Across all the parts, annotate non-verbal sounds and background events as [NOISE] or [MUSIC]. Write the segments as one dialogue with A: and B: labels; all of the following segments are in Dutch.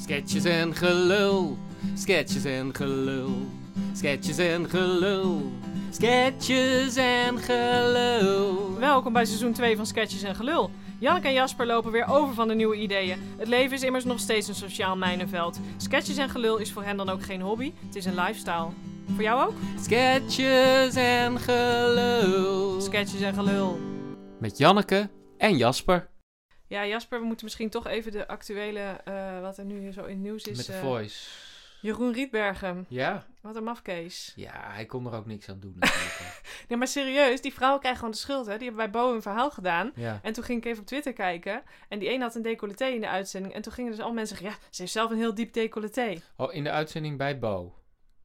A: Sketches en gelul, sketches en gelul, sketches en gelul, sketches en gelul.
B: Welkom bij seizoen 2 van Sketches en Gelul. Janneke en Jasper lopen weer over van de nieuwe ideeën. Het leven is immers nog steeds een sociaal mijnenveld. Sketches en Gelul is voor hen dan ook geen hobby, het is een lifestyle. Voor jou ook?
A: Sketches en gelul.
B: Sketches en Gelul.
A: Met Janneke en Jasper.
B: Ja, Jasper, we moeten misschien toch even de actuele, eh, wat er nu zo in het nieuws is.
A: Met de
B: eh,
A: voice.
B: Jeroen Rietbergen,
A: Ja?
B: wat een mafkees.
A: Ja, hij kon er ook niks aan doen natuurlijk.
B: [LAUGHS] Nee, maar serieus, die vrouwen krijgen gewoon de schuld, hè? Die hebben bij Bo een verhaal gedaan.
A: ja.
B: En toen ging ik even op Twitter kijken. En die een had een decolleté in de uitzending. En toen gingen dus al mensen zeggen: Ja, ze heeft zelf een heel diep decolleté.
A: Oh, in de uitzending bij Bo.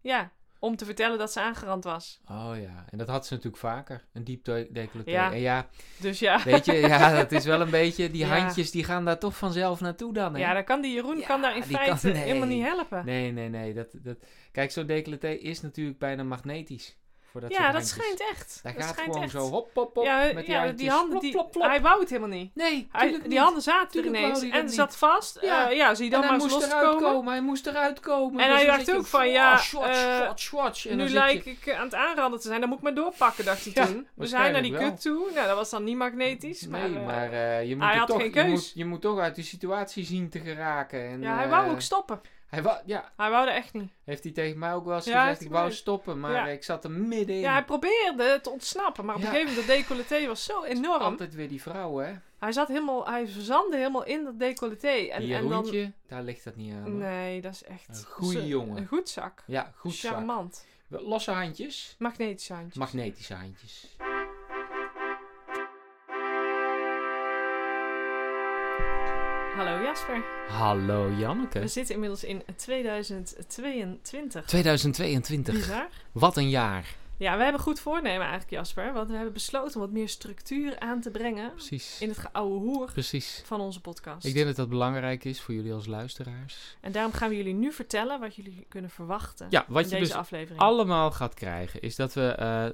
B: Ja, om te vertellen dat ze aangerand was.
A: Oh ja, en dat had ze natuurlijk vaker. Een diep de- decolleté.
B: Ja.
A: En ja,
B: Dus ja,
A: weet je, ja, dat is wel een beetje...
B: [LAUGHS]
A: Die
B: Ja.
A: handjes, die gaan daar toch vanzelf naartoe dan, hè?
B: ja daar kan die Jeroen
A: Ja,
B: kan daar in
A: die
B: feite
A: kan- nee.
B: helemaal niet helpen.
A: Nee, nee, nee. Dat, dat... Kijk, zo'n decolleté is natuurlijk bijna magnetisch. Voor dat
B: ja,
A: soort
B: dat
A: handjes.
B: schijnt echt.
A: Daar
B: dat
A: gaat
B: schijnt
A: gewoon
B: echt.
A: zo hop, hop, hop.
B: ja,
A: met die
B: ja,
A: handjes.
B: die handen,
A: Plop,
B: die,
A: plop, plop.
B: hij wou het helemaal niet.
A: Nee,
B: Hij-
A: tuurlijk
B: die
A: niet.
B: handen zaten
A: Tuurlijk
B: er
A: wou
B: ineens
A: hij dat
B: en
A: niet.
B: zat vast.
A: Ja.
B: Ja, ja zie je dan
A: en
B: maar
A: hij
B: eens
A: moest
B: los te
A: eruit
B: komen.
A: komen. Hij moest eruit komen.
B: En
A: Dus
B: hij
A: dan
B: dacht
A: zit je,
B: ook van,
A: "Wow,
B: ja,
A: swatch,
B: eh,
A: swatch, swatch." En
B: nu
A: dan zit
B: lijk
A: je-
B: ik eh, aan het aanranden te zijn, dan moet ik maar doorpakken, dacht hij
A: Ja,
B: toen. Dus hij naar
A: waarschijnlijk
B: die
A: wel.
B: kut toe. Nou, dat was dan niet magnetisch. Maar,
A: Nee,
B: eh,
A: maar eh, je, moet
B: hij
A: er
B: had
A: toch,
B: geen
A: je,
B: keus.
A: moet, je moet toch uit die situatie zien te geraken. En,
B: ja, hij
A: eh,
B: wou ook stoppen.
A: hij wou- ja,
B: Hij wou er echt niet.
A: heeft hij tegen mij ook wel eens
B: Ja, heeft
A: gezegd,
B: hij
A: ik wou
B: mij-
A: stoppen, maar
B: Ja.
A: ik zat er middenin.
B: Ja, hij probeerde te ontsnappen, maar op een
A: Ja.
B: gegeven moment, dat decolleté was
A: [LAUGHS]
B: zo enorm.
A: Altijd weer die vrouw, hè.
B: Hij zat helemaal, hij verzandde helemaal in dat decolleté. En,
A: Die
B: en dan,
A: Jeroentje, daar ligt dat niet aan. hoor.
B: Nee, dat is echt...
A: Een goeie
B: zo-
A: jongen.
B: Een goed zak.
A: Ja, goed zo.
B: Charmant.
A: Losse handjes.
B: Magnetisch handje.
A: Magnetische handjes.
B: Hallo Jasper.
A: Hallo
B: We
A: Janneke.
B: zitten inmiddels in 2022.
A: 2022.
B: Bizar.
A: Wat een jaar.
B: Ja, we hebben goed voornemen eigenlijk Jasper. Want we hebben besloten om wat meer structuur aan te brengen
A: Precies.
B: in het geouwe hoer
A: Precies.
B: van onze podcast.
A: Ik denk dat dat belangrijk is voor jullie als luisteraars.
B: En daarom gaan we jullie nu vertellen wat jullie kunnen verwachten
A: Ja,
B: in
A: wat je
B: deze
A: dus
B: aflevering.
A: allemaal gaat krijgen is dat we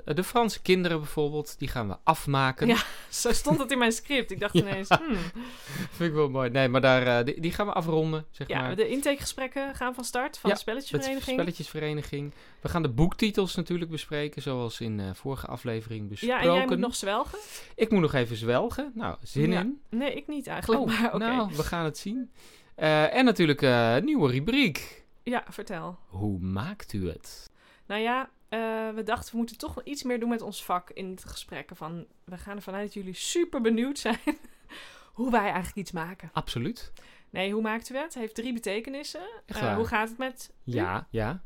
A: eh, de Franse kinderen bijvoorbeeld, die gaan we afmaken.
B: Ja. Zo stond het in mijn script. Ik dacht
A: [LAUGHS] Ja.
B: ineens, hmm.
A: [LAUGHS] Vind ik wel mooi. Nee, maar daar, eh, die, die gaan we afronden, zeg
B: Ja,
A: maar.
B: de intakegesprekken gaan van start van
A: Ja,
B: de
A: Met
B: spelletjesvereniging.
A: spelletjesvereniging. We gaan de boektitels natuurlijk bespreken, zoals in eh, vorige aflevering
B: ja,
A: besproken.
B: en jij moet nog zwelgen?
A: Ik moet nog even zwelgen. Nou, zin
B: Ja.
A: in.
B: Nee, ik niet eigenlijk,
A: Oh,
B: maar oké.
A: Nou, we gaan het zien. Eh, en natuurlijk eh nieuwe rubriek.
B: Ja, vertel.
A: Hoe maakt u het?
B: Nou ja, eh, we dachten we moeten toch wel iets meer doen met ons vak in het gesprekken. Van, we gaan ervan uit dat jullie super benieuwd zijn [LAUGHS] hoe wij eigenlijk iets maken.
A: Absoluut.
B: Nee, hoe maakt u het? Heeft drie betekenissen.
A: Echt
B: Eh,
A: waar.
B: hoe gaat het met? u? Eh,
A: Ja, ja.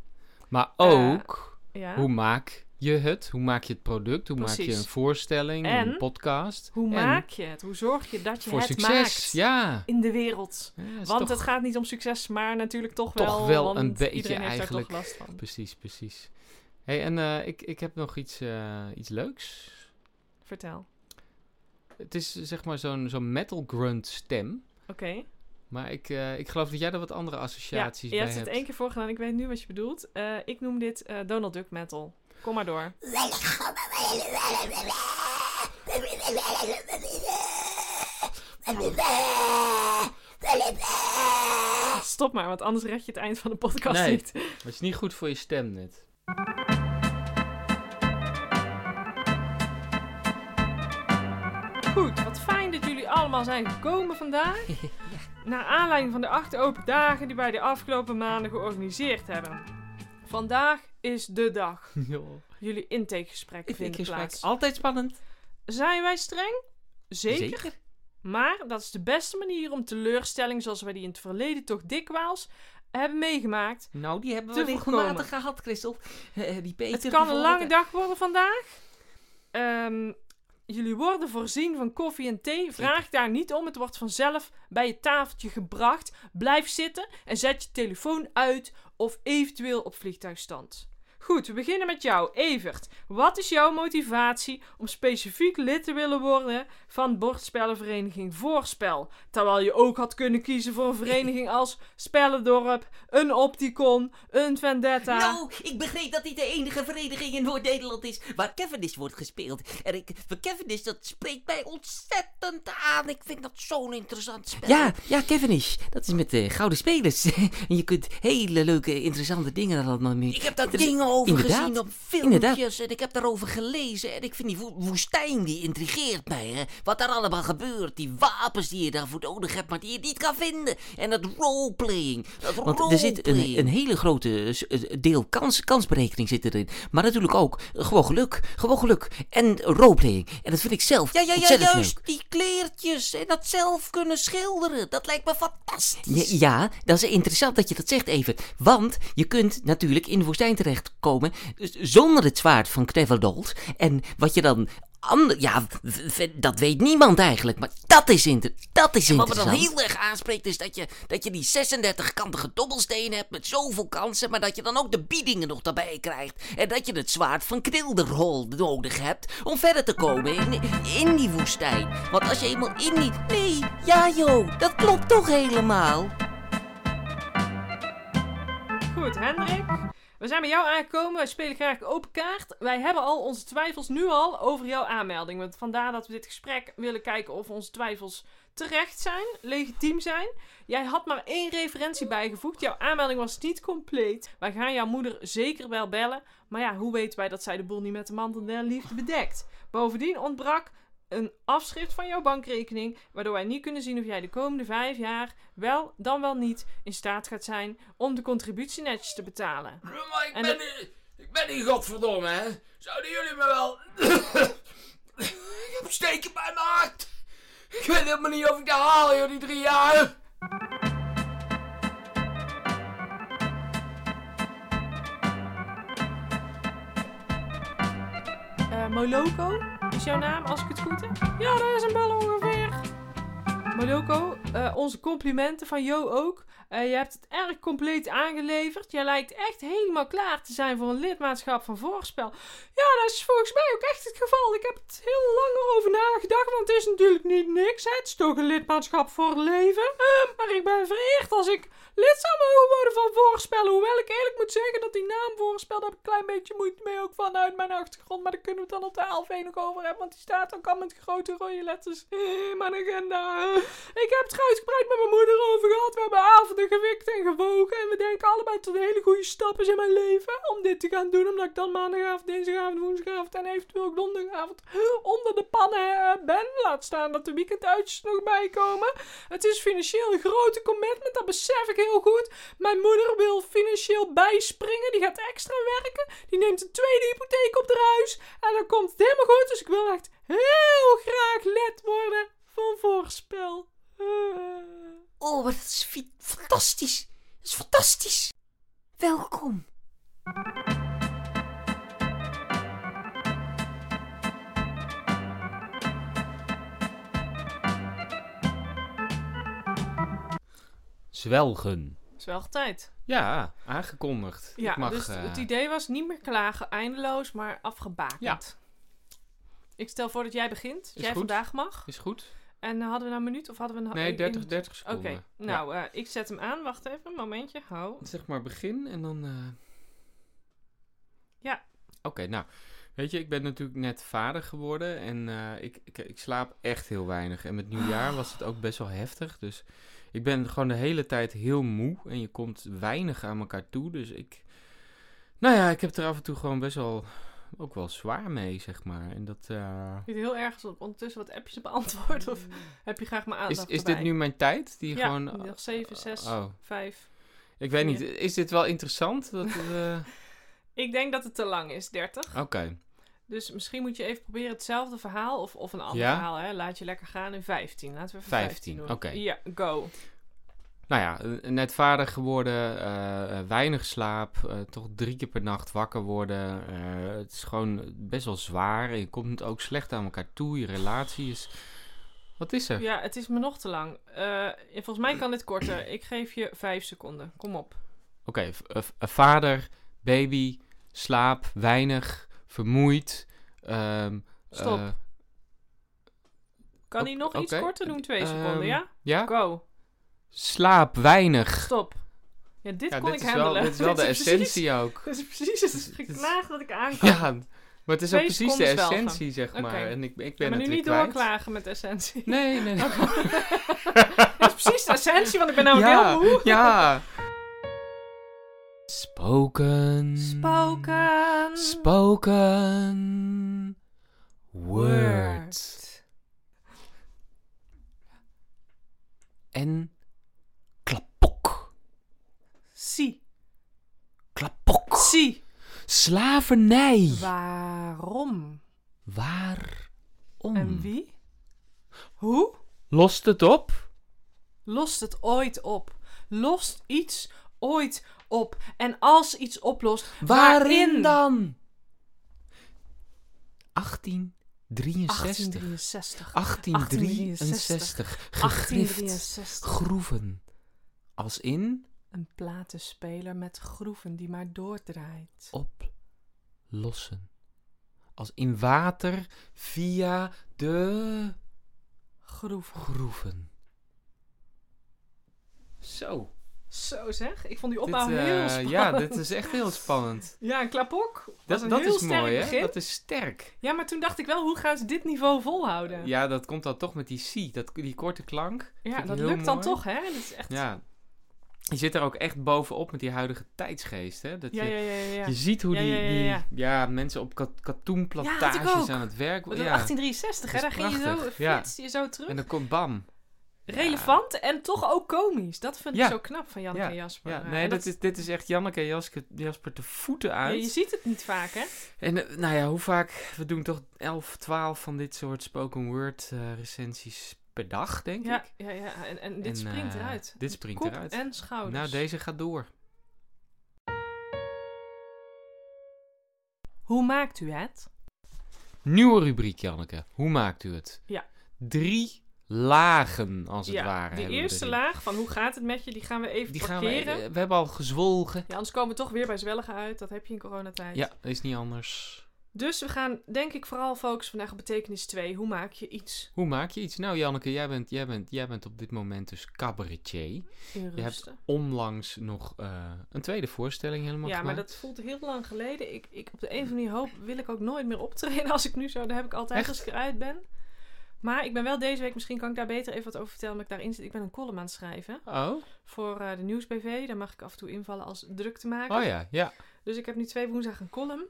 A: Maar ook,
B: ja.
A: hoe maak je het? Hoe maak je het product? Hoe maak je
B: Precies.
A: een voorstelling?
B: En?
A: Een podcast?
B: Hoe
A: En
B: maak je het? Hoe zorg je dat je
A: Voor
B: het
A: succes,
B: maakt
A: ja.
B: in de wereld?
A: Ja, is
B: Want
A: toch-
B: het gaat niet om succes, maar natuurlijk toch wel.
A: Toch wel
B: want
A: een beetje
B: iedereen heeft
A: eigenlijk.
B: daar toch last van.
A: Precies, precies. hey, en eh, ik, ik heb nog iets, eh, iets leuks.
B: Vertel.
A: Het is eh, zeg maar zo'n zo'n metal grunt stem.
B: Oké.
A: Maar ik, eh, ik geloof dat jij daar wat andere associaties
B: je
A: bij
B: hebt het
A: hebt.
B: één keer voorgedaan. Ik weet nu wat je bedoelt. Eh, ik noem dit eh, Donald Duck metal. Kom maar door. Stop maar, want anders red je het eind van de podcast
A: Nee.
B: niet.
A: Maar het is niet goed voor je stem net.
B: Goed, wat fijn dat jullie allemaal zijn gekomen
A: [LAUGHS]
B: vandaag. Naar aanleiding van de acht open dagen die wij de afgelopen maanden georganiseerd hebben. Vandaag is de dag. Jullie intakegesprekken vinden plaats.
A: altijd spannend.
B: Zijn wij streng? Zeker. Maar dat is de beste manier om teleurstelling zoals wij die in het verleden toch dikwijls hebben meegemaakt.
A: Nou, die hebben
B: we Te regelmatig voorkomen.
A: gehad, Christel. die Peter
B: Het kan een lange dag worden vandaag. Ehm, jullie worden voorzien van koffie en thee. Vraag daar niet om. Het wordt vanzelf bij je tafeltje gebracht. Blijf zitten en zet je telefoon uit of eventueel op vliegtuigstand. Goed, we beginnen met jou, Evert. Wat is jouw motivatie om specifiek lid te willen worden van bordspellenvereniging Voorspel? Terwijl je ook had kunnen kiezen voor een vereniging als Spellendorp, een Opticon, een Vendetta.
C: Nou, ik begreep dat dit de enige vereniging in Noord-Nederland is waar Cavendish wordt gespeeld. En ik, voor Cavendish, dat spreekt mij ontzettend aan. Ik vind dat zo'n interessant spel.
D: Ja, ja, Cavendish. Dat is met de gouden spelers. [LAUGHS] en je kunt hele leuke, interessante dingen allemaal mee.
C: Ik heb daar
D: Inter-
C: dingen over
D: inderdaad,
C: gezien op filmpjes
D: inderdaad.
C: en ik heb daarover gelezen. En ik vind die wo- woestijn, die intrigeert mij. Hè? Wat daar allemaal gebeurt. Die wapens die je daarvoor nodig hebt, maar die je niet kan vinden. En dat roleplaying. Dat
D: Want er zit een, een hele grote s- eh, deel kans, kansberekening zit erin. Maar natuurlijk ook eh, gewoon geluk. Gewoon geluk. En roleplaying. En dat vind ik zelf
C: Ja, ja, ja,
D: ontzettend
C: juist.
D: leuk.
C: Die kleertjes en dat zelf kunnen schilderen. Dat lijkt me fantastisch.
D: Ja, ja, dat is interessant dat je dat zegt, even. Want je kunt natuurlijk in de woestijn terechtkomen z- zonder het zwaard van Kneveldold. En wat je dan... Ander, ja, v- v- dat weet niemand eigenlijk. Maar dat is, inter, dat is
C: Wat me dan
D: interessant.
C: heel erg aanspreekt is dat je, dat je die 36-kantige dobbelsteen hebt met zoveel kansen, maar dat je dan ook de biedingen nog daarbij krijgt. En dat je het zwaard van Krilderhol nodig hebt om verder te komen in, in die woestijn. Want als je eenmaal in die... Nee, ja joh, dat klopt toch helemaal.
B: Goed, Hendrik. We zijn bij jou aangekomen. Wij spelen graag open kaart. Wij hebben al onze twijfels nu al over jouw aanmelding. Want vandaar dat we dit gesprek willen kijken of onze twijfels terecht zijn, legitiem zijn. Jij had maar één referentie bijgevoegd. Jouw aanmelding was niet compleet. Wij gaan jouw moeder zeker wel bellen. Maar ja, hoe weten wij dat zij de boel niet met de mantel der liefde bedekt? Bovendien ontbrak een afschrift van jouw bankrekening, waardoor wij niet kunnen zien of jij de komende vijf jaar wel dan wel niet in staat gaat zijn om de contributie netjes te betalen.
E: Maar ik
B: En
E: ben, niet, ik ben niet godverdomme, hè. Zouden jullie me wel... [COUGHS] ik heb steken bij mijn hart. Ik weet helemaal niet of ik dat haal, joh, die drie jaar.
B: Eh, Moloko is jouw naam, als ik het goed heb? Ja, dat is een bel ongeveer. Moloko, eh, onze complimenten van jou ook. Eh, je hebt het erg compleet aangeleverd. Jij lijkt echt helemaal klaar te zijn voor een lidmaatschap van Voorspel. Ja, dat is volgens mij ook echt het geval. Ik heb het heel lang over nagedacht, want het is natuurlijk niet niks. Hè? Het is toch een lidmaatschap voor het leven. Eh, maar ik ben vereerd als ik lid zou mogen worden van Voorspel. Hoewel ik eerlijk moet zeggen dat die naam Voorspel, daar heb ik een klein beetje moeite mee ook vanuit mijn achtergrond. Maar daar kunnen we het dan op de half één nog over hebben, want die staat ook al met grote rode letters in mijn agenda. Eh, Ik heb het er uitgebreid met mijn moeder over gehad. We hebben avonden gewikt en gewogen. En we denken allebei tot hele goede stappen in mijn leven om dit te gaan doen. Omdat ik dan maandagavond, dinsdagavond, woensdagavond en eventueel ook donderdagavond onder de pannen eh, ben. Laat staan dat de weekenduitjes er nog bij komen. Het is financieel een grote commitment, dat besef ik heel goed. Mijn moeder wil financieel bijspringen. Die gaat extra werken. Die neemt een tweede hypotheek op haar huis. En dan komt het helemaal goed. Dus ik wil echt heel graag lid worden van voorspel. Eh.
C: Oh, wat is fi- fantastisch. Dat is fantastisch. Welkom.
A: Zwelgen.
B: Is wel tijd.
A: Ja, aangekondigd.
B: Ja,
A: ik mag,
B: dus
A: eh,
B: het idee was niet meer klagen, eindeloos, maar afgebakend.
A: Ja.
B: Ik stel voor dat jij begint. Dat
A: Is
B: jij
A: goed.
B: vandaag mag.
A: Is goed?
B: En eh, hadden we nou een minuut of hadden we een...
A: Nee,
B: een-
A: 30,
B: een-
A: 30
B: Oké,
A: seconden.
B: nou, eh, ik zet hem aan. Wacht even, een momentje. Hou.
A: Ja, zeg maar begin en dan... eh,
B: Ja.
A: Oké, nou. Weet je, ik ben natuurlijk net vader geworden en eh, ik, ik, ik slaap echt heel weinig. En met nieuwjaar was het ook best wel heftig, dus ik ben gewoon de hele tijd heel moe en je komt weinig aan elkaar toe. Dus ik, nou ja, ik heb er af en toe gewoon best wel, ook wel zwaar mee, zeg maar. En dat, eh,
B: Vind je het heel erg als ik ondertussen wat appjes beantwoord? Of heb je graag mijn
A: is,
B: aandacht
A: is dit
B: erbij?
A: nu mijn tijd? Die
B: Ja,
A: gewoon,
B: nog 7, 6,
A: Oh,
B: 5.
A: ik weet niet,
B: vier.
A: is dit wel interessant? Dat, eh, [LAUGHS]
B: Ik denk dat het te lang is, 30.
A: Oké,
B: Dus misschien moet je even proberen hetzelfde verhaal of, of een ander
A: Ja?
B: verhaal. Hè? Laat je lekker gaan in 15. Laten we even 15,
A: 15,
B: doen.
A: oké.
B: Ja, go.
A: Nou ja, eh, net vader geworden, eh, eh, weinig slaap, eh, toch drie keer per nacht wakker worden. eh, het is gewoon best wel zwaar. en Je komt ook slecht aan elkaar toe. Je relatie is. Wat is er?
B: Ja, het is me nog te lang. Eh, volgens mij kan dit korter. Ik geef je 5 seconden. Kom op.
A: Oké, v- eh, v- eh, vader, baby, slaap, weinig, vermoeid. ehm,
B: Stop.
A: eh,
B: Kan
A: Oké,
B: hij nog iets
A: oké.
B: korter doen? Twee
A: Ehm,
B: seconden, ja?
A: ja?
B: Go.
A: Slaap, weinig.
B: Stop. Ja, dit
A: Ja,
B: kon
A: dit,
B: ik
A: is wel,
B: handelen.
A: dit is
B: [LAUGHS]
A: wel de
B: precies-
A: essentie ook.
B: Dit is precies het
A: dit is-
B: geklaag dat ik aankwam.
A: Ja, maar het is ook
B: Twee
A: precies de
B: seconden zwelgen.
A: essentie, zeg
B: Oké.
A: maar. En ik, ik ben
B: Ja, maar
A: het
B: nu
A: weer
B: niet
A: kwijt.
B: doorklagen met essentie.
A: Nee, nee, nee.
B: Dat is precies de essentie, want ik ben namelijk heel
A: ja,
B: moe.
A: ja. Spoken.
B: Spoken.
A: Spoken. Word.
B: Word.
A: En
D: Klapok.
B: Zie.
D: Klapok.
B: Zie.
A: slavernij.
B: Waarom?
A: Waarom? Hmm.
B: En wie? Hoe?
A: Lost het op?
B: Lost het ooit op? Lost iets ooit op? En als iets oplost,
A: Waarin
B: waarin?
A: dan? 1863.
B: 1863.
A: 1863. Gegrift.
B: 1863.
A: Groeven. Als in
B: Een platenspeler met groeven die maar doordraait.
A: oplossen. Als in water via de
B: Groeven.
A: groeven. Zo.
B: Zo zeg, ik vond die
A: Dit,
B: opbouw
A: eh,
B: heel spannend.
A: ja, dit is echt heel spannend.
B: Ja, een klapok. was
A: Dat,
B: een
A: dat
B: heel
A: is
B: sterk
A: mooi, hè?
B: begin.
A: Dat is sterk.
B: Ja, maar toen dacht ik wel, hoe gaan ze dit niveau volhouden?
A: Ja, dat komt dan toch met die C, dat, die korte klank.
B: Ja,
A: Vind ik
B: dat
A: heel
B: lukt dan
A: mooi.
B: toch, hè? Dat is echt...
A: Ja. Je zit er ook echt bovenop met die huidige tijdsgeest, hè? Dat
B: ja,
A: je,
B: ja, ja. ja, ja.
A: je ziet hoe
B: Ja,
A: die,
B: ja, ja,
A: die-
B: ja.
A: ja, mensen op kat-
B: Ja, had ik ook.
A: katoenplantages aan het werk...
B: Maar dat
A: Ja.
B: 1863, hè?
A: Dat
B: Daar
A: is
B: ging je zo,
A: prachtig, ja.
B: fietste je zo terug.
A: En dan komt bam.
B: Relevant en toch ook komisch. Dat vind ik
A: Ja.
B: zo knap van Janneke
A: Ja,
B: en Jasper.
A: Ja,
B: Eh,
A: nee,
B: en
A: dat is, dit is echt Janneke en Jaske- Jasper de voeten
B: ja,
A: uit.
B: je ziet het niet vaak, hè?
A: En eh, nou ja, hoe vaak... We doen toch 11, 12 van dit soort spoken word eh, recensies per dag, denk
B: Ja,
A: ik.
B: ja, ja. En, en dit
A: En,
B: springt
A: eh,
B: eruit.
A: dit springt
B: Kop
A: eruit.
B: en schouders.
A: Nou, deze gaat door.
B: Hoe maakt u het?
A: Nieuwe rubriek, Janneke. Hoe maakt u het?
B: Ja.
A: Drie lagen, als het
B: ja,
A: ware.
B: de
A: hebben we
B: eerste
A: erin.
B: laag van hoe gaat het met je, die gaan we even
A: Die gaan we,
B: parkeren.
A: eh, we hebben al gezwolgen.
B: Ja, anders komen we toch weer bij zwelligen uit. Dat heb je in coronatijd.
A: Ja, is niet anders.
B: Dus we gaan denk ik vooral focussen vandaag op betekenis 2. Hoe maak je iets
A: Hoe maak je iets? Nou, Janneke, jij bent, jij bent, jij bent op dit moment dus cabaretier.
B: in
A: Je
B: rusten?
A: hebt onlangs nog eh, een tweede voorstelling helemaal
B: Ja, maar
A: gemaakt.
B: dat voelt heel lang geleden. Ik, ik, op de een of andere manier hoop, wil ik ook nooit meer optreden als ik nu zo... Daar heb ik altijd
A: Echt?
B: als ik eruit ben. Maar ik ben wel deze week, misschien kan ik daar beter even wat over vertellen, maar ik daarin zit. Ik ben een column aan het schrijven
A: Oh,
B: voor eh, de Nieuwsbv. Daar mag ik af en toe invallen als druk te maken.
A: oh ja, ja.
B: Dus ik heb nu twee woensdagen een column.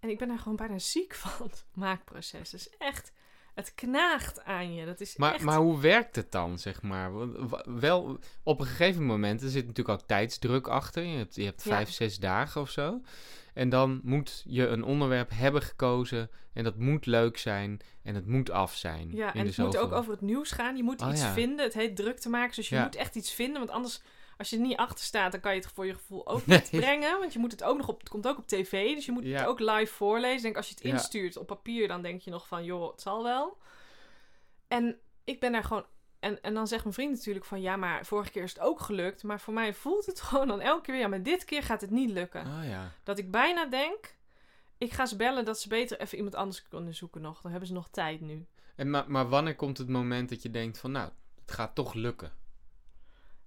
B: En ik ben daar gewoon bijna ziek van. [LAUGHS] Het maakproces is echt... Het knaagt aan je. Dat is echt...
A: Maar, maar hoe werkt het dan, zeg maar? Wa- wa- Wel, op een gegeven moment, er zit natuurlijk ook tijdsdruk achter. Je hebt, je hebt
B: Ja.
A: vijf, zes dagen of zo. En dan moet je een onderwerp hebben gekozen. En dat moet leuk zijn. En het moet af zijn.
B: Ja,
A: in
B: en
A: de
B: het moet
A: zoveel-
B: ook over het nieuws gaan. Je moet
A: Oh,
B: iets
A: ja.
B: vinden. Het heet druk te maken. Dus je
A: Ja.
B: moet echt iets vinden. Want anders, als je er niet achter staat, dan kan je het voor je gevoel ook
A: Nee.
B: niet brengen. Want je moet het ook nog op. Het komt ook op tv. Dus je moet
A: Ja.
B: het ook live voorlezen. Ik Denk, als je het
A: Ja.
B: instuurt op papier, dan denk je nog van joh, het zal wel. En ik ben daar gewoon. En, en dan zegt mijn vriend natuurlijk van ja, maar vorige keer is het ook gelukt. Maar voor mij voelt het [LAUGHS] gewoon dan elke keer weer. Ja, maar dit keer gaat het niet lukken.
A: Oh ja.
B: Dat ik bijna denk. Ik ga ze bellen dat ze beter even iemand anders kunnen zoeken nog. Dan hebben ze nog tijd nu.
A: En maar, maar wanneer komt het moment dat je denkt van, nou, het gaat toch lukken?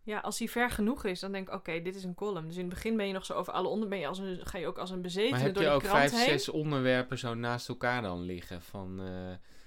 B: Ja, als die ver genoeg is, dan denk ik, oké, dit is een column. Dus in het begin ben je nog zo over alle onder... Ben je als een, ga je ook als een
A: Maar
B: bezetene
A: heb
B: door
A: je
B: die
A: ook
B: krant
A: vijf,
B: heen.
A: zes onderwerpen zo naast elkaar dan liggen? Van, eh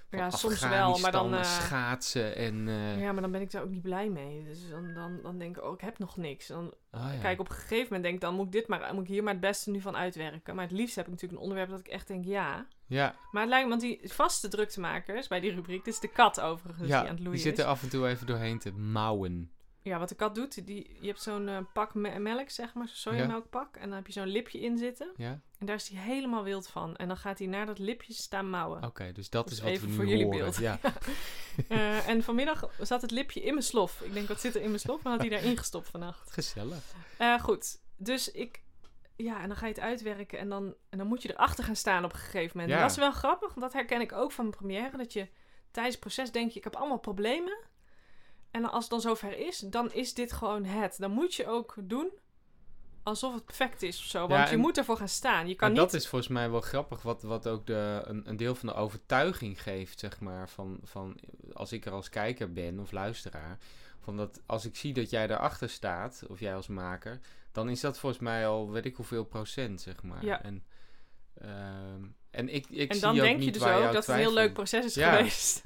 A: van
B: Ja, soms wel, maar
A: Afghanistan
B: dan,
A: en
B: eh,
A: schaatsen en... eh
B: Ja, maar dan ben ik daar ook niet blij mee. Dus dan, dan, dan denk ik, oh, ik heb nog niks. En dan
A: oh ja.
B: kijk ik op een gegeven moment, denk ik, dan moet ik, dit maar, moet ik hier maar het beste nu van uitwerken. Maar het liefst heb ik natuurlijk een onderwerp dat ik echt denk, ja.
A: ja,
B: Maar het lijkt me, want die vaste druktemakers bij die rubriek... Dit is de kat overigens, die
A: ja,
B: aan het
A: die
B: loeien
A: zit
B: is.
A: er af en toe even doorheen te mouwen.
B: Ja, wat de kat doet, die, je hebt zo'n eh, pak me- melk, zeg maar, zo'n sojamelkpak. En dan heb je zo'n lipje in zitten.
A: Ja?
B: En daar is hij helemaal wild van. En dan gaat hij naar dat lipje staan mouwen.
A: Oké, dus dat
B: Dus
A: is wat
B: even
A: we nu
B: voor jullie
A: horen.
B: beeld. [LAUGHS]
A: Ja.
B: Eh, en vanmiddag zat het lipje in mijn slof. Ik denk, wat zit er in mijn slof? Maar had hij daarin gestopt vannacht.
A: Gezellig.
B: Eh, goed, dus ik... Ja, en dan ga je het uitwerken en dan, en dan moet je erachter gaan staan op een gegeven moment.
A: Ja.
B: En dat is wel grappig, want dat herken ik ook van mijn première. Dat je tijdens het proces denk je, ik heb allemaal problemen. En als het dan zover is, dan is dit gewoon het. Dan moet je ook doen alsof het perfect is of zo.
A: Ja,
B: Want je
A: en-
B: moet ervoor gaan staan. Je kan
A: maar
B: niet...
A: dat is volgens mij wel grappig, wat, wat ook de, een, een deel van de overtuiging geeft, zeg maar, van, van als ik er als kijker ben of luisteraar, van dat als ik zie dat jij daarachter staat, of jij als maker, dan is dat volgens mij al weet ik hoeveel procent, zeg maar.
B: Ja.
A: En, ehm, en ik, ik
B: En
A: zie
B: dan
A: ook
B: denk je
A: niet
B: dus
A: waar
B: ook
A: jouw
B: dat het een heel
A: twijfel-
B: leuk proces is
A: Ja.
B: geweest.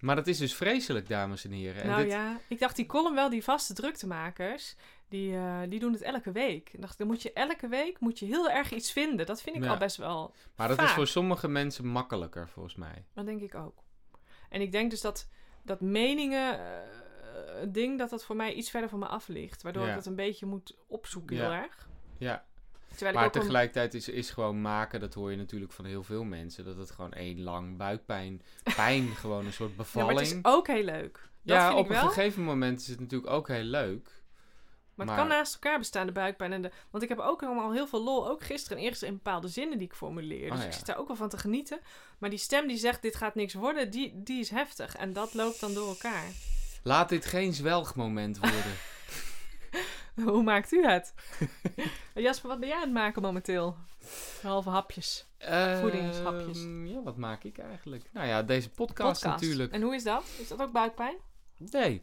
A: Maar dat is dus vreselijk, dames en heren. En
B: nou
A: dit,
B: ja, ik dacht die column wel, die vaste druktemakers, die, eh, die doen het elke week. Ik dacht, dan moet je elke week moet je heel erg iets vinden. Dat vind ik
A: Ja.
B: al best wel
A: maar dat is
B: vaak.
A: voor sommige mensen makkelijker, volgens mij.
B: Dat denk ik ook. En ik denk dus dat, dat meningen, eh, het ding, dat dat voor mij iets verder van me af ligt. Waardoor
A: Ja.
B: ik dat een beetje moet opzoeken heel
A: Ja.
B: erg.
A: Ja.
B: Terwijl
A: Maar
B: ik ook een-
A: tegelijkertijd is, is gewoon maken, dat hoor je natuurlijk van heel veel mensen, dat het gewoon één
B: [LAUGHS]
A: lang buikpijn, pijn, gewoon een soort
B: Ja, maar
A: bevalling.
B: het is ook heel leuk. Dat
A: Ja,
B: vind
A: op
B: ik
A: een
B: wel.
A: gegeven moment is het natuurlijk ook heel leuk.
B: Maar het
A: maar-
B: kan naast elkaar bestaan, de buikpijn en de... Want ik heb ook allemaal heel veel lol. Ook gisteren en eerst in bepaalde zinnen die ik formuleer. Dus
A: Oh,
B: ik
A: ja.
B: zit daar ook wel van te genieten. Maar die stem die zegt, dit gaat niks worden, die, die is heftig. En dat loopt dan door elkaar. [LAUGHS]
A: Laat dit geen zwelgmoment worden.
B: Hoe maakt u
A: [LAUGHS]
B: het? Jasper, wat ben jij aan het maken momenteel? Halve hapjes. [LAUGHS] Voedingshapjes.
A: Ehm, ja, wat maak ik eigenlijk? Nou ja, deze podcast, natuurlijk.
B: En hoe is dat? Is dat ook buikpijn?
A: Nee.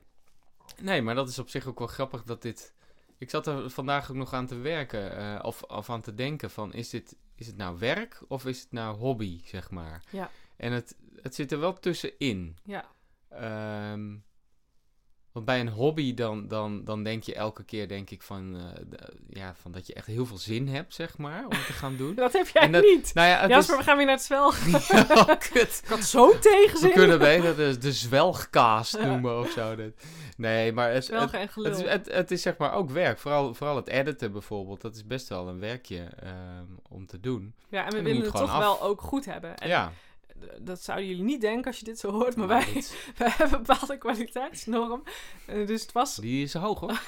A: Nee, maar dat is op zich ook wel grappig dat dit... Ik zat er vandaag ook nog aan te werken, eh, of, of aan te denken van, is dit, is het nou werk of is het nou hobby, zeg maar?
B: Ja.
A: En het, het zit er wel tussenin.
B: Ja.
A: Ehm, want bij een hobby dan, dan, dan denk je elke keer denk ik van, eh, d- ja, van dat je echt heel veel zin hebt, zeg maar, om te gaan
B: [LAUGHS]
A: doen.
B: Dat heb jij
A: En [LAUGHS] dat-
B: niet.
A: nou ja, het
B: Jasper, we gaan weer naar het zwelg.
A: [LAUGHS] is... Ja, kut.
B: [LAUGHS] Ik had zo
A: We
B: tegenzin.
A: kunnen beter de, de zwelgkaas noemen of zo. dit. Nee, maar het,
B: [LAUGHS]
A: het,
B: Zwelgen en gelul.
A: het, is, het, het is zeg maar ook werk. Vooral, vooral het editen bijvoorbeeld, dat is best wel een werkje ehm, om te doen.
B: ja, en we
A: moet
B: willen het
A: gewoon
B: toch
A: af.
B: wel ook goed hebben. En
A: ja. Nou,
B: Dat zouden jullie niet denken als je dit zo hoort, maar wij,
A: dit-
B: wij [LAUGHS] hebben een bepaalde kwaliteitsnorm. Eh, Dus het was,
A: die is hoog hoor.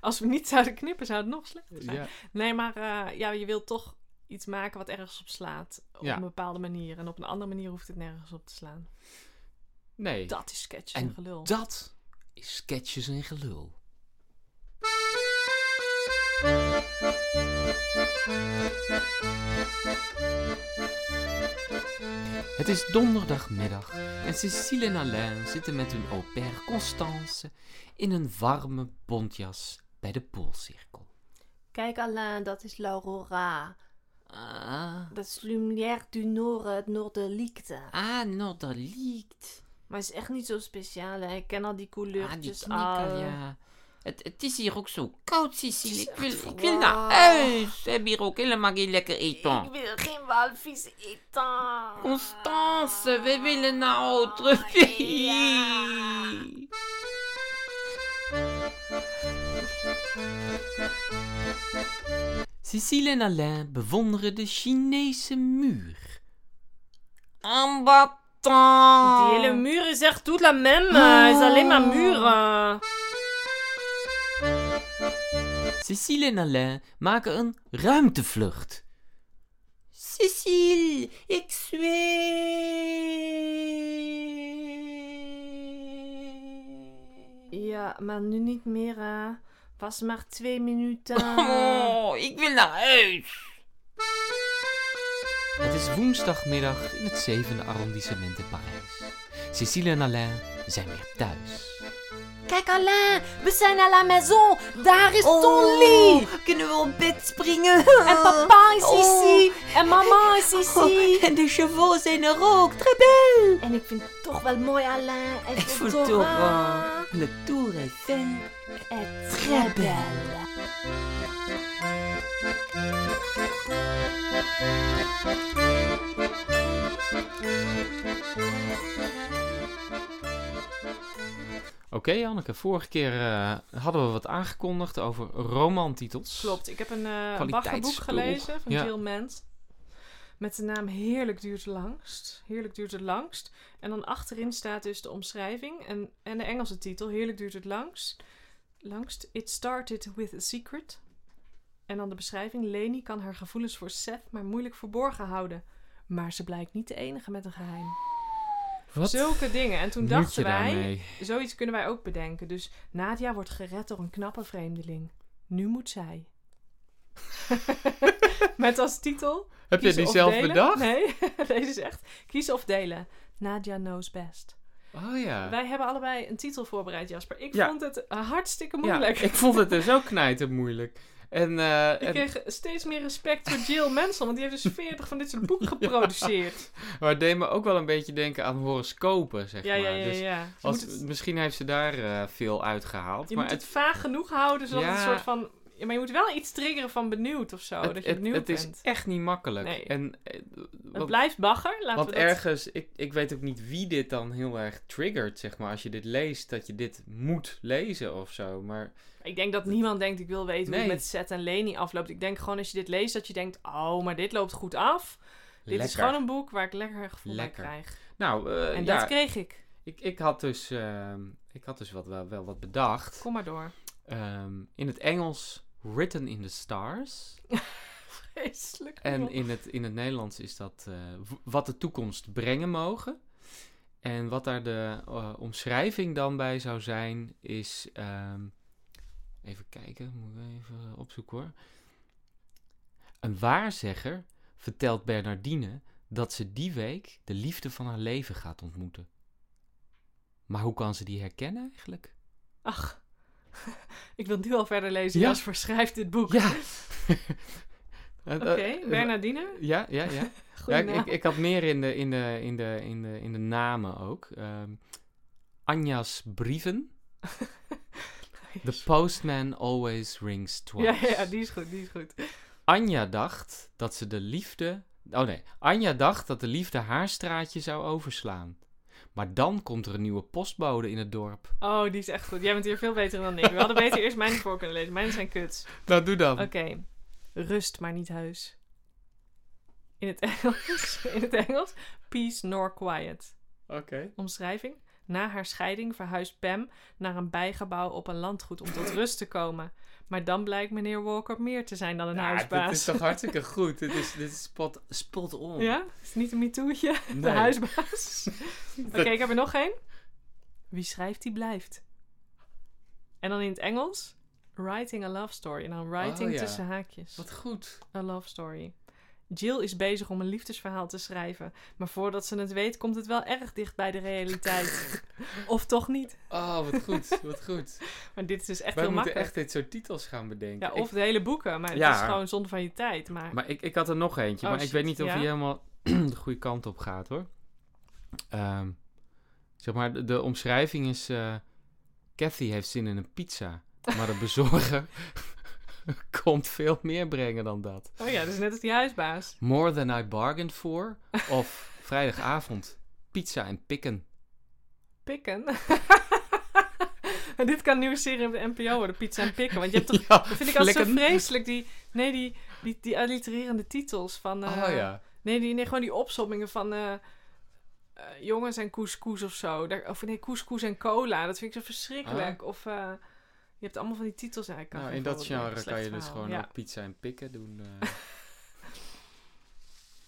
B: als we niet zouden knippen, zou het nog slechter zijn.
A: Ja.
B: Nee, maar eh, ja, je wilt toch iets maken wat ergens op slaat. Op
A: Ja.
B: een bepaalde manier. En op een andere manier hoeft het nergens op te slaan.
A: Nee.
B: Dat is sketch
D: En
B: en gelul.
D: Dat is sketches en gelul.
A: Het is donderdagmiddag en Cécile en Alain zitten met hun au pair Constance in een warme bontjas bij de Poolcirkel.
F: Kijk Alain, dat is l'Aurora.
D: Ah,
F: Dat is Lumière du Nord, het Noorderliekte.
D: ah nou, dat liekt.
F: Maar het is echt niet zo speciaal, hè. Ik ken al die
D: Ah, die
F: couleurtjes
D: knikker,
F: al.
D: ja. Het, het is hier ook zo koud, Cecile.
F: Het is
D: Ik wil,
F: echt
D: ik wil naar
F: warm.
D: huis. We hebben hier ook helemaal geen lekker
F: Ik
D: eten.
F: wil geen walvis eten. Oh,
D: Constance, we willen naar outre pays.
A: Cécile en Alain bewonderen de Chinese muur.
D: En
F: Die hele muur is echt tout la même. Het eh, is alleen maar eh. muren.
A: Cécile en Alain maken een ruimtevlucht.
D: Cécile, ik zweef.
F: Ja, maar nu niet meer, hè. Was maar twee [LAUGHS] minuten.
D: Oh, ik wil naar huis.
A: Het is woensdagmiddag in het zevende arrondissement in Parijs. Cécile en Alain zijn weer thuis.
F: Kijk Alain, we zijn à la maison. Daar is ton lit.
D: kunnen we op bed springen?
F: En papa is
D: Oh.
F: ici. En mama is ici.
D: en de chevaux zijn er ook. Très belle.
F: En ik vind het toch wel mooi, Alain. En
D: Ik voel het ook wel. Le Tour Eiffel.
F: Est très belle.
A: Oké, Anneke, vorige keer eh, hadden we wat aangekondigd over romantitels.
B: Klopt. Ik heb een eh baggerboek
A: Kwaliteitsspul.
B: gelezen van
A: Ja.
B: Jill Ment. Met de naam Heerlijk duurt het langst. Heerlijk duurt het langst. En dan achterin staat dus de omschrijving en, en de Engelse titel. Heerlijk duurt het langst. Langst. It started with a secret. En dan de beschrijving. Leni kan haar gevoelens voor Seth maar moeilijk verborgen houden. Maar ze blijkt niet de enige met een geheim.
A: Wat
B: Zulke dingen. En toen
A: moet
B: dachten
A: je
B: wij,
A: daarmee?
B: zoiets kunnen wij ook bedenken. Dus Nadia wordt gered door een knappe vreemdeling. Nu moet zij. [LAUGHS] Met als titel...
A: Heb je
B: Kiezen
A: die
B: of
A: zelf
B: delen?
A: bedacht?
B: Nee, [LAUGHS] deze is echt kiezen of delen. Nadia knows best.
A: Oh ja.
B: Wij hebben allebei een titel voorbereid, Jasper. Ik
A: Ja.
B: vond het hartstikke
A: ja.
B: moeilijk.
A: Ik
B: [LAUGHS]
A: vond het dus ook knijten moeilijk. En, eh,
B: Ik
A: en-
B: kreeg steeds meer respect voor Jill Mansell, want die heeft
A: [LAUGHS]
B: dus 40 van dit soort boeken geproduceerd.
A: maar het deed me ook wel een beetje denken aan horoscopen, zeg
B: Ja, ja,
A: maar.
B: ja, ja.
A: Dus
B: ja. Je
A: als-
B: moet het,
A: Misschien heeft ze daar eh, veel uitgehaald.
B: je
A: maar
B: moet
A: het,
B: het vaag genoeg houden, zodat het
A: Ja.
B: een soort van... Ja, maar je moet wel iets triggeren van benieuwd of zo,
A: het,
B: dat je
A: het-
B: benieuwd
A: het is
B: bent.
A: echt niet makkelijk.
B: Nee.
A: En, eh,
B: Het
A: want-
B: blijft bagger, laten
A: Want
B: we dat...
A: ergens, ik, ik weet ook niet wie dit dan heel erg triggert, zeg maar. Als je dit leest, dat je dit moet lezen of zo. Maar
B: Ik denk dat niemand denkt, ik wil weten hoe
A: Nee.
B: het met Seth en Leni afloopt. Ik denk gewoon als je dit leest, dat je denkt, oh, maar dit loopt goed af. Dit
A: lekker.
B: is gewoon een boek waar ik lekker een gevoel
A: Lekker.
B: bij krijg.
A: Nou, eh,
B: En
A: ja,
B: dat kreeg ik.
A: ik, ik had dus, ehm, ik had dus wat, wel, wel wat bedacht.
B: Kom maar
A: [LAUGHS]
B: door.
A: Ehm, in het Engels, Written in the Stars.
B: Vreselijk.
A: En
B: joh.
A: in het, in het Nederlands is dat eh, w- wat de toekomst brengen mogen. En wat daar de eh, omschrijving dan bij zou zijn, is. ehm, even kijken, moet ik even opzoeken hoor. Een waarzegger vertelt Bernardine dat ze die week de liefde van haar leven gaat ontmoeten. Maar hoe kan ze die herkennen eigenlijk?
B: Ach, ik wil nu al verder lezen.
A: Ja.
B: Jasper schrijft dit boek.
A: [LAUGHS] Ja!
B: Oké, Bernardine.
A: Eh, Ja, ja, ja. Ja,
B: Goeie
A: ik, ik, ik had meer in de, in de, in de, in de, in de namen ook. Ehm, Anja's
B: [LAUGHS]
A: brieven. The postman always rings
B: naam.
A: twice.
B: ja, ja, die is goed, die is goed.
A: Anja dacht dat ze de liefde... Oh nee, Anja dacht dat de liefde haar straatje zou overslaan. Maar dan komt er een nieuwe postbode in het dorp.
B: Oh, die is echt goed. Jij bent hier veel beter dan ik. We hadden beter eerst mijn voor kunnen lezen. Mijn zijn kuts.
A: Nou, doe dan.
B: Oké, rust maar niet huis. In het [LAUGHS] Engels, in het Engels, peace nor quiet. Omschrijving. Na haar scheiding verhuist Pam naar een bijgebouw op een landgoed om tot rust te komen. Maar dan blijkt meneer Walker meer te zijn dan een huisbaas.
A: dit is toch hartstikke goed. Dit is, dit is spot, spot on.
B: Ja? Is niet een mitoetje? De
A: Nee. [LAUGHS]
B: huisbaas? Oké, ik heb er nog één. Wie schrijft, die blijft. En dan in het Engels. Writing a love story. En dan writing
A: Oh, ja.
B: tussen haakjes.
A: Wat goed.
B: A love story. Jill is bezig om een liefdesverhaal te schrijven. Maar voordat ze het weet, komt het wel erg dicht bij de
A: [LAUGHS]
B: realiteit. of toch niet.
A: Oh, wat goed. Wat goed.
B: Maar dit is dus echt
A: Wij
B: heel
A: moeten
B: makkelijk.
A: echt dit soort titels gaan bedenken.
B: Ja,
A: Ik-
B: of de hele boeken. Maar het
A: Ja.
B: is gewoon zonde van je tijd. Maar,
A: Maar ik, ik had er nog eentje,
B: Oh,
A: maar ik weet
B: shit,
A: niet of
B: ja.
A: hij helemaal [CLEARS THROAT] de goede kant op gaat hoor. Ehm, zeg maar, de, de omschrijving is: eh Cathy heeft zin in een pizza, maar de bezorger [LAUGHS] komt veel meer brengen dan dat.
B: Oh ja, dat is net als die huisbaas.
A: More than I bargained for, of vrijdagavond, pizza en pikken.
B: Pikken.
A: [LAUGHS]
B: En Dit kan een nieuwe serie op de NPO worden, Pizza en Pikken. Want je hebt toch,
A: [LAUGHS] Ja,
B: dat vind ik altijd zo
A: flikken.
B: vreselijk, die, nee, die, die, die allitererende titels van... eh,
A: Oh ja.
B: Nee, die, nee, gewoon die opsommingen van eh, eh, jongens en couscous of zo. Daar, of nee, couscous en cola. Dat vind ik zo verschrikkelijk. Of eh, je hebt allemaal van die titels. Ja, ik kan
A: Ah. Nou,
B: geen
A: in dat
B: voorbeeld
A: genre
B: bedenken.
A: kan je
B: Slecht
A: dus
B: verhaal.
A: gewoon
B: Ja,
A: ook pizza en pikken doen.
B: [LAUGHS]
A: eh.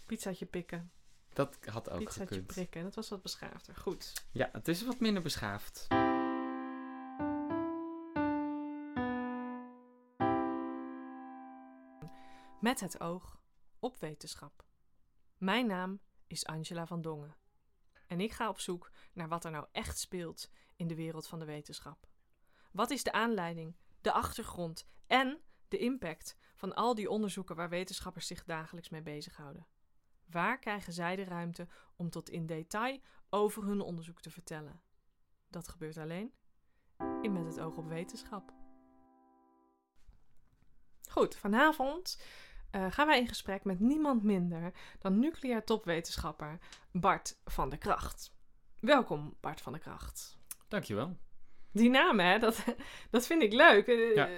B: pizzaatje pikken.
A: dat had ook
B: Pizzaatje
A: gekund.
B: prikken. Dat was wat beschaafder. Goed.
A: Ja, het is wat minder beschaafd.
B: Met het oog op wetenschap. Mijn naam is Angela van Dongen. En ik ga op zoek naar wat er nou echt speelt in de wereld van de wetenschap. Wat is de aanleiding, de achtergrond en de impact van al die onderzoeken waar wetenschappers zich dagelijks mee bezighouden? Waar krijgen zij de ruimte om tot in detail over hun onderzoek te vertellen? Dat gebeurt alleen in Met het oog op wetenschap. Goed, vanavond eh, gaan wij in gesprek met niemand minder dan nucleair topwetenschapper Bart van der Kracht. Welkom, Bart van der Kracht.
A: Dankjewel.
B: Die naam, hè, dat, [LAUGHS] dat vind ik leuk. Eh,
A: Ja.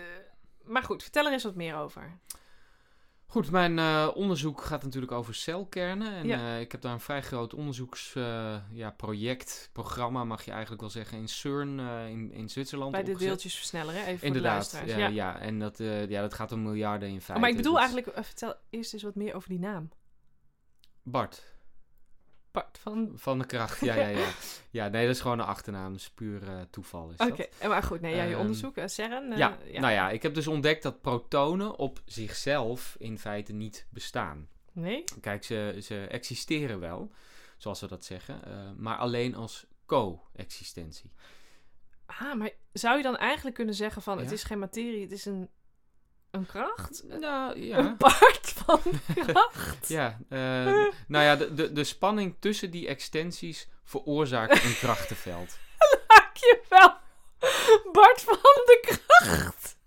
B: Maar goed, vertel er eens wat meer over.
A: Goed, mijn eh, onderzoek gaat natuurlijk over celkernen. En
B: Ja.
A: eh, ik heb daar een vrij groot onderzoeksproject, ja, project, programma mag je eigenlijk wel zeggen, in CERN eh, in, in Zwitserland.
B: Bij de
A: opgezet.
B: deeltjesversneller, hè, even voor de
A: Inderdaad,
B: luisteraars.
A: ja, ja. En dat, eh, ja, dat gaat om miljarden in
B: Oh,
A: feite. Dus
B: maar ik bedoel
A: Dat-
B: eigenlijk, eh, vertel eerst eens wat meer over die naam.
A: Bart.
B: Part van...
A: Van de kracht, ja, ja,
B: [LAUGHS]
A: ja. Ja, nee, dat is gewoon een achternaam. Dat is puur eh, toeval. Is
B: Oké,
A: dat.
B: eh, maar goed, nee, ja, je
A: Ehm,
B: onderzoek, eh, CERN. eh,
A: ja, nou ja, ik heb dus ontdekt dat protonen op zichzelf in feite niet bestaan.
B: Nee?
A: Kijk, ze, ze existeren wel, zoals ze dat zeggen, eh, maar alleen als co-existentie.
B: Ah, maar zou je dan eigenlijk kunnen zeggen van... Het
A: Ja.
B: is geen materie, het is een, een kracht? [LAUGHS]
A: Nou,
B: Een part van kracht?
A: Ja, eh, nou ja, de, de, de spanning tussen die extensies veroorzaakt een krachtenveld.
B: Dank je wel, Bart van de kracht.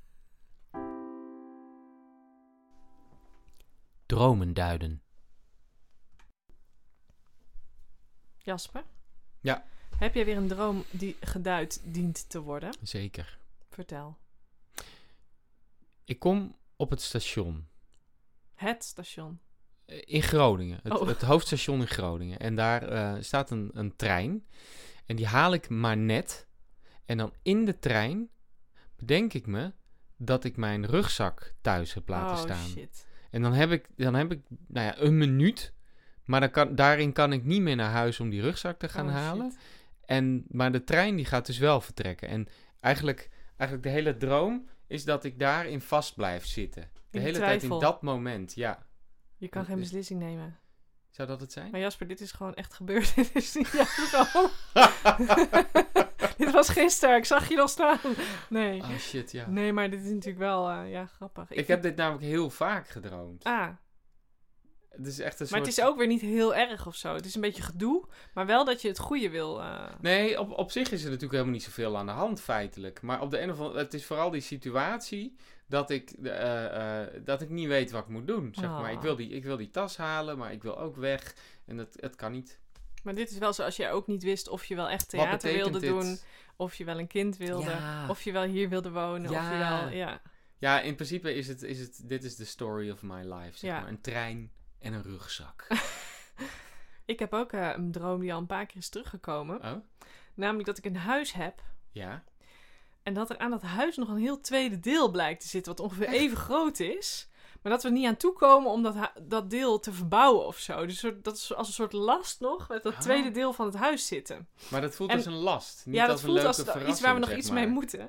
D: Dromen duiden.
B: Jasper?
A: Ja.
B: Heb jij weer een droom die geduid dient te worden?
A: Zeker.
B: Vertel.
A: Ik kom op het station.
B: Het station.
A: Eh, In Groningen. Het,
B: Oh.
A: het hoofdstation in Groningen. En daar eh, staat een, een trein. En die haal ik maar net. En dan in de trein bedenk ik me dat ik mijn rugzak thuis heb laten
B: oh,
A: staan.
B: shit.
A: En dan heb ik, dan heb ik nou ja, een minuut. Maar dan kan, daarin kan ik niet meer naar huis om die rugzak te gaan
B: Oh,
A: halen.
B: shit.
A: En, maar de trein die gaat dus wel vertrekken. En eigenlijk, eigenlijk de hele droom is dat ik daarin vast blijf zitten. De
B: In
A: hele tijd
B: twijfel.
A: in dat moment, ja.
B: Je kan geen beslissing nemen.
A: Zou dat het zijn?
B: Maar Jasper, dit is gewoon echt gebeurd. [LAUGHS] dit is niet jouw
A: [LAUGHS]
B: droom. dit was gisteren. Ik zag je nog staan. Nee.
A: Oh shit, ja.
B: Nee, maar dit is natuurlijk wel eh, ja, grappig.
A: Ik heb dit namelijk heel vaak gedroomd.
B: Ah,
A: Het is echt een
B: maar
A: soort...
B: het is ook weer niet heel erg of zo. Het is een beetje gedoe, maar wel dat je het goede wil. eh.
A: Nee, op, op zich is er natuurlijk helemaal niet zoveel aan de hand feitelijk. Maar op de een of andere... Het is vooral die situatie dat ik, eh, eh, dat ik niet weet wat ik moet doen, zeg maar.
B: Ah.
A: Ik wil, die, ik wil die tas halen, maar ik wil ook weg. En dat, het kan niet.
B: Maar dit is wel zoals jij ook niet wist of je wel echt
A: wat
B: theater wilde
A: betekent dit?
B: doen, of je wel een kind wilde,
D: Ja.
B: of je wel hier wilde wonen, of je
D: Ja.
B: wel... Ja.
A: Ja, in principe is het, is het... Dit is the story of my life, zeg
B: Ja.
A: maar. Een trein en een
B: [LAUGHS]
A: rugzak.
B: Ik heb ook eh, een droom die al een paar keer is teruggekomen.
A: Oh,
B: Namelijk dat ik een huis heb
A: ja.
B: en dat er aan dat huis nog een heel tweede deel blijkt te zitten, wat ongeveer even groot is. Maar dat we er niet aan toekomen om dat, hu- dat deel te verbouwen of zo. Dus soort- dat is als een soort last nog met dat
A: Ah.
B: tweede deel van het huis zitten.
A: Maar dat voelt
B: En-
A: als een last. Niet
B: ja,
A: als
B: dat
A: een
B: voelt
A: leuke
B: als iets waar we
A: verrassing,
B: nog
A: zeg
B: iets
A: maar. Oh.
B: mee moeten.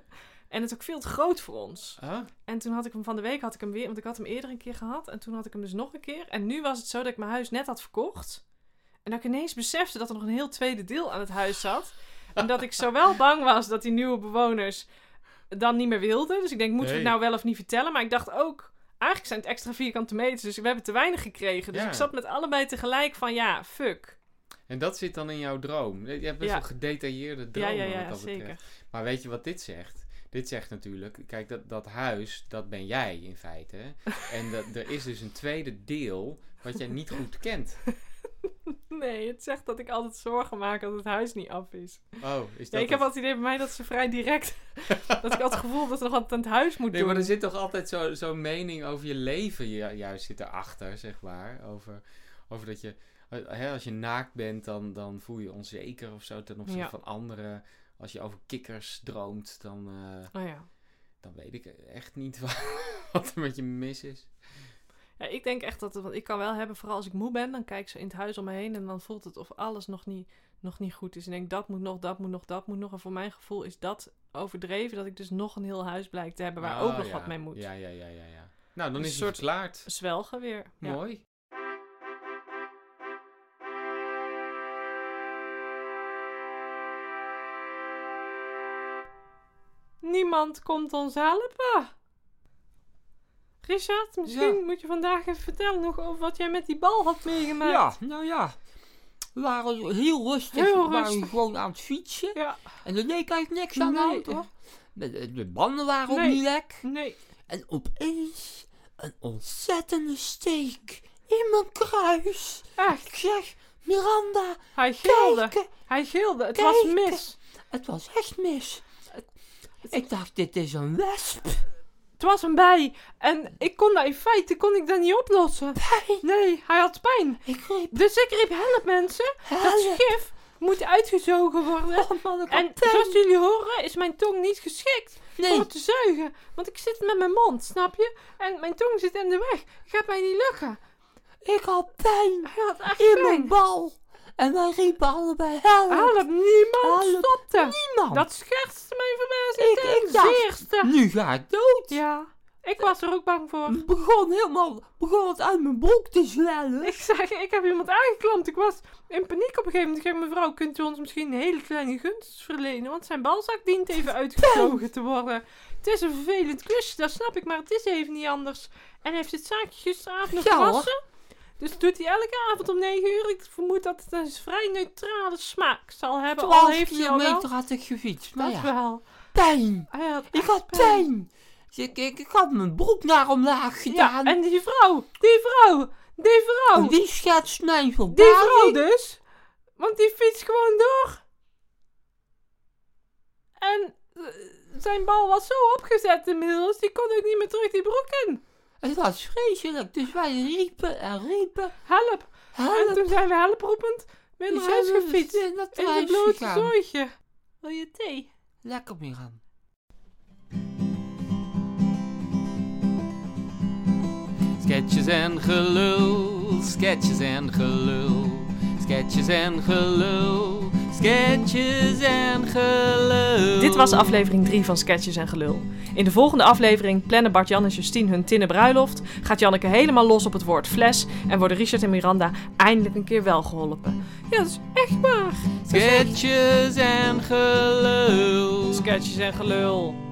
B: En het is ook veel te groot voor ons.
A: Huh?
B: En toen had ik hem van de week had ik hem weer, want ik had hem eerder een keer gehad. En toen had ik hem dus nog een keer. En nu was het zo dat ik mijn huis net had verkocht. En dat ik ineens besefte dat er nog een heel tweede deel aan het huis zat. En dat ik
A: [LAUGHS]
B: zowel bang was dat die nieuwe bewoners dan niet meer wilden. Dus ik denk, moeten we het
A: Nee.
B: nou wel of niet vertellen? Maar ik dacht ook, eigenlijk zijn het extra vierkante meters. Dus we hebben te weinig gekregen. Dus
A: Ja.
B: ik zat met allebei tegelijk van, ja, fuck.
A: En dat zit dan in jouw droom. Je hebt best
B: Ja.
A: wel gedetailleerde
B: Ja,
A: dromen
B: ja,
A: wat
B: ja,
A: dat
B: zeker.
A: betreft. Maar weet je wat dit zegt? Dit zegt natuurlijk, kijk, dat, dat huis, dat ben jij in feite. hè? En dat, er is dus een tweede deel wat jij niet goed kent.
B: Nee, het zegt dat ik altijd zorgen maak dat het huis niet af is.
A: Oh, is dat
B: Ja, ik heb
A: het?
B: altijd het idee bij mij dat ze vrij
A: [LAUGHS]
B: direct. dat ik altijd het gevoel heb dat er nog wat aan het huis moet
A: Nee,
B: doen.
A: maar er zit toch altijd zo- zo'n mening over je leven ju- juist zit erachter, zeg maar. Over, over dat je, eh, hè, als je naakt bent, dan, dan voel je je onzeker of zo ten opzichte
B: Ja.
A: van anderen. Als je over kikkers droomt, dan... eh,
B: Oh ja.
A: dan weet ik echt niet [LAUGHS] wat, wat er met je mis is.
B: ja. Ik denk echt dat. het- Want ik kan wel hebben, vooral als ik moe ben, dan kijk ik zo in het huis om me heen. En dan voelt het of alles nog niet, nog niet goed is. En ik denk dat moet nog, dat moet nog, dat moet nog. En voor mijn gevoel is dat overdreven. Dat ik dus nog een heel huis blijk te hebben waar
A: Oh,
B: ook nog
A: ja.
B: wat mee moet.
A: Ja, ja, ja, ja. ja. Nou, dan
B: Een
A: is het
B: soort-
A: verklaard.
B: Zwelgen weer. Ja.
A: Mooi.
B: Niemand komt ons helpen. Richard, misschien moet je vandaag even vertellen nog over wat jij met die bal had meegemaakt.
E: Ja, nou ja. We waren heel rustig.
B: Heel
E: we waren
B: rustig.
E: gewoon aan het fietsen.
B: Ja.
E: En er leek eigenlijk niks aan de hand
B: Nee.
E: hoor. De, de banden waren
B: Nee.
E: ook niet lek.
B: Nee.
E: En opeens een ontzettende steek in mijn kruis.
B: Echt.
E: Ik zeg, Miranda,
B: Hij gilde.
E: kijk,
B: Hij gilde. Het was
E: Kijk.
B: mis.
E: het was echt mis. Ik dacht, dit is een wesp.
B: Het was een bij. En ik kon dat in feite kon ik dat niet oplossen. Nee, hij had pijn.
E: Ik riep,
B: Dus ik riep help mensen. Dat
E: help.
B: schif moet uitgezogen worden.
E: Oh man, ik
B: En
E: had pijn.
B: zoals jullie horen is mijn tong niet geschikt
E: Nee,
B: om te zuigen. Want ik zit met mijn mond, snap je? En mijn tong zit in de weg. Gaat mij niet lukken.
E: ik had pijn
B: Hij had echt
E: in
B: pijn.
E: mijn bal.
D: En wij riepen allebei, help,
B: Help, niemand
D: Help,
B: stopte.
D: niemand.
B: Dat scherste mijn verbazing
D: Ik-
B: ten
D: ik dacht-
B: zeerste.
D: Nu ga ik dood.
B: Ja, ik was er ook bang voor.
D: Begon helemaal, begon het uit mijn broek te
B: [LAUGHS]
D: zwellen.
B: Ik zeg, ik heb iemand aangeklampt. Ik was in paniek op een gegeven moment. Ik zeg, mevrouw, kunt u ons misschien een hele kleine gunst verlenen? Want zijn balzak dient even uitgevlogen te worden. Het is een vervelend klusje, dat snap ik, maar het is even niet anders. En hij heeft het zaakje gisteravond nog
D: Ja, hoor.
B: gewassen. Dus dat doet hij elke avond om 9 uur. Ik vermoed dat het een vrij neutrale smaak zal hebben. Al
D: 12
B: heeft hij al wel.
D: kilometer had ik gefietst, maar
B: Dat
D: ja,
B: wel.
D: pijn.
B: Hij had
D: Ik
B: echt
D: had pijn. Dus Ik, ik, ik had mijn broek naar omlaag
B: Ja,
D: gedaan.
B: en die vrouw, die vrouw, die vrouw,
D: En
B: die,
D: die schetst mij voorbij.
B: vrouw dus. Want die fietst gewoon door. En eh, zijn bal was zo opgezet inmiddels, die kon ook niet meer terug die broek in.
D: Het was vreselijk, dus wij riepen en riepen.
B: Help. En
D: Help,
B: toen zijn we helproepend weer naar
D: Dus
B: huis
D: hebben we
B: gefietst.
D: in dat
B: In
D: huis
B: een blote
D: gegaan.
B: zooitje. Wil je thee?
D: Lekker, Miran.
A: Sketches en gelul, sketches en gelul, sketches en gelul, sketches en gelul.
F: Dit was aflevering 3 van Sketches en Gelul. In de volgende aflevering plannen Bart-Jan en Justine hun tinnen bruiloft, gaat Janneke helemaal los op het woord fles en worden Richard en Miranda eindelijk een keer wel geholpen.
B: Ja, dat is echt waar.
A: Sketches en gelul.
F: Sketches en Gelul.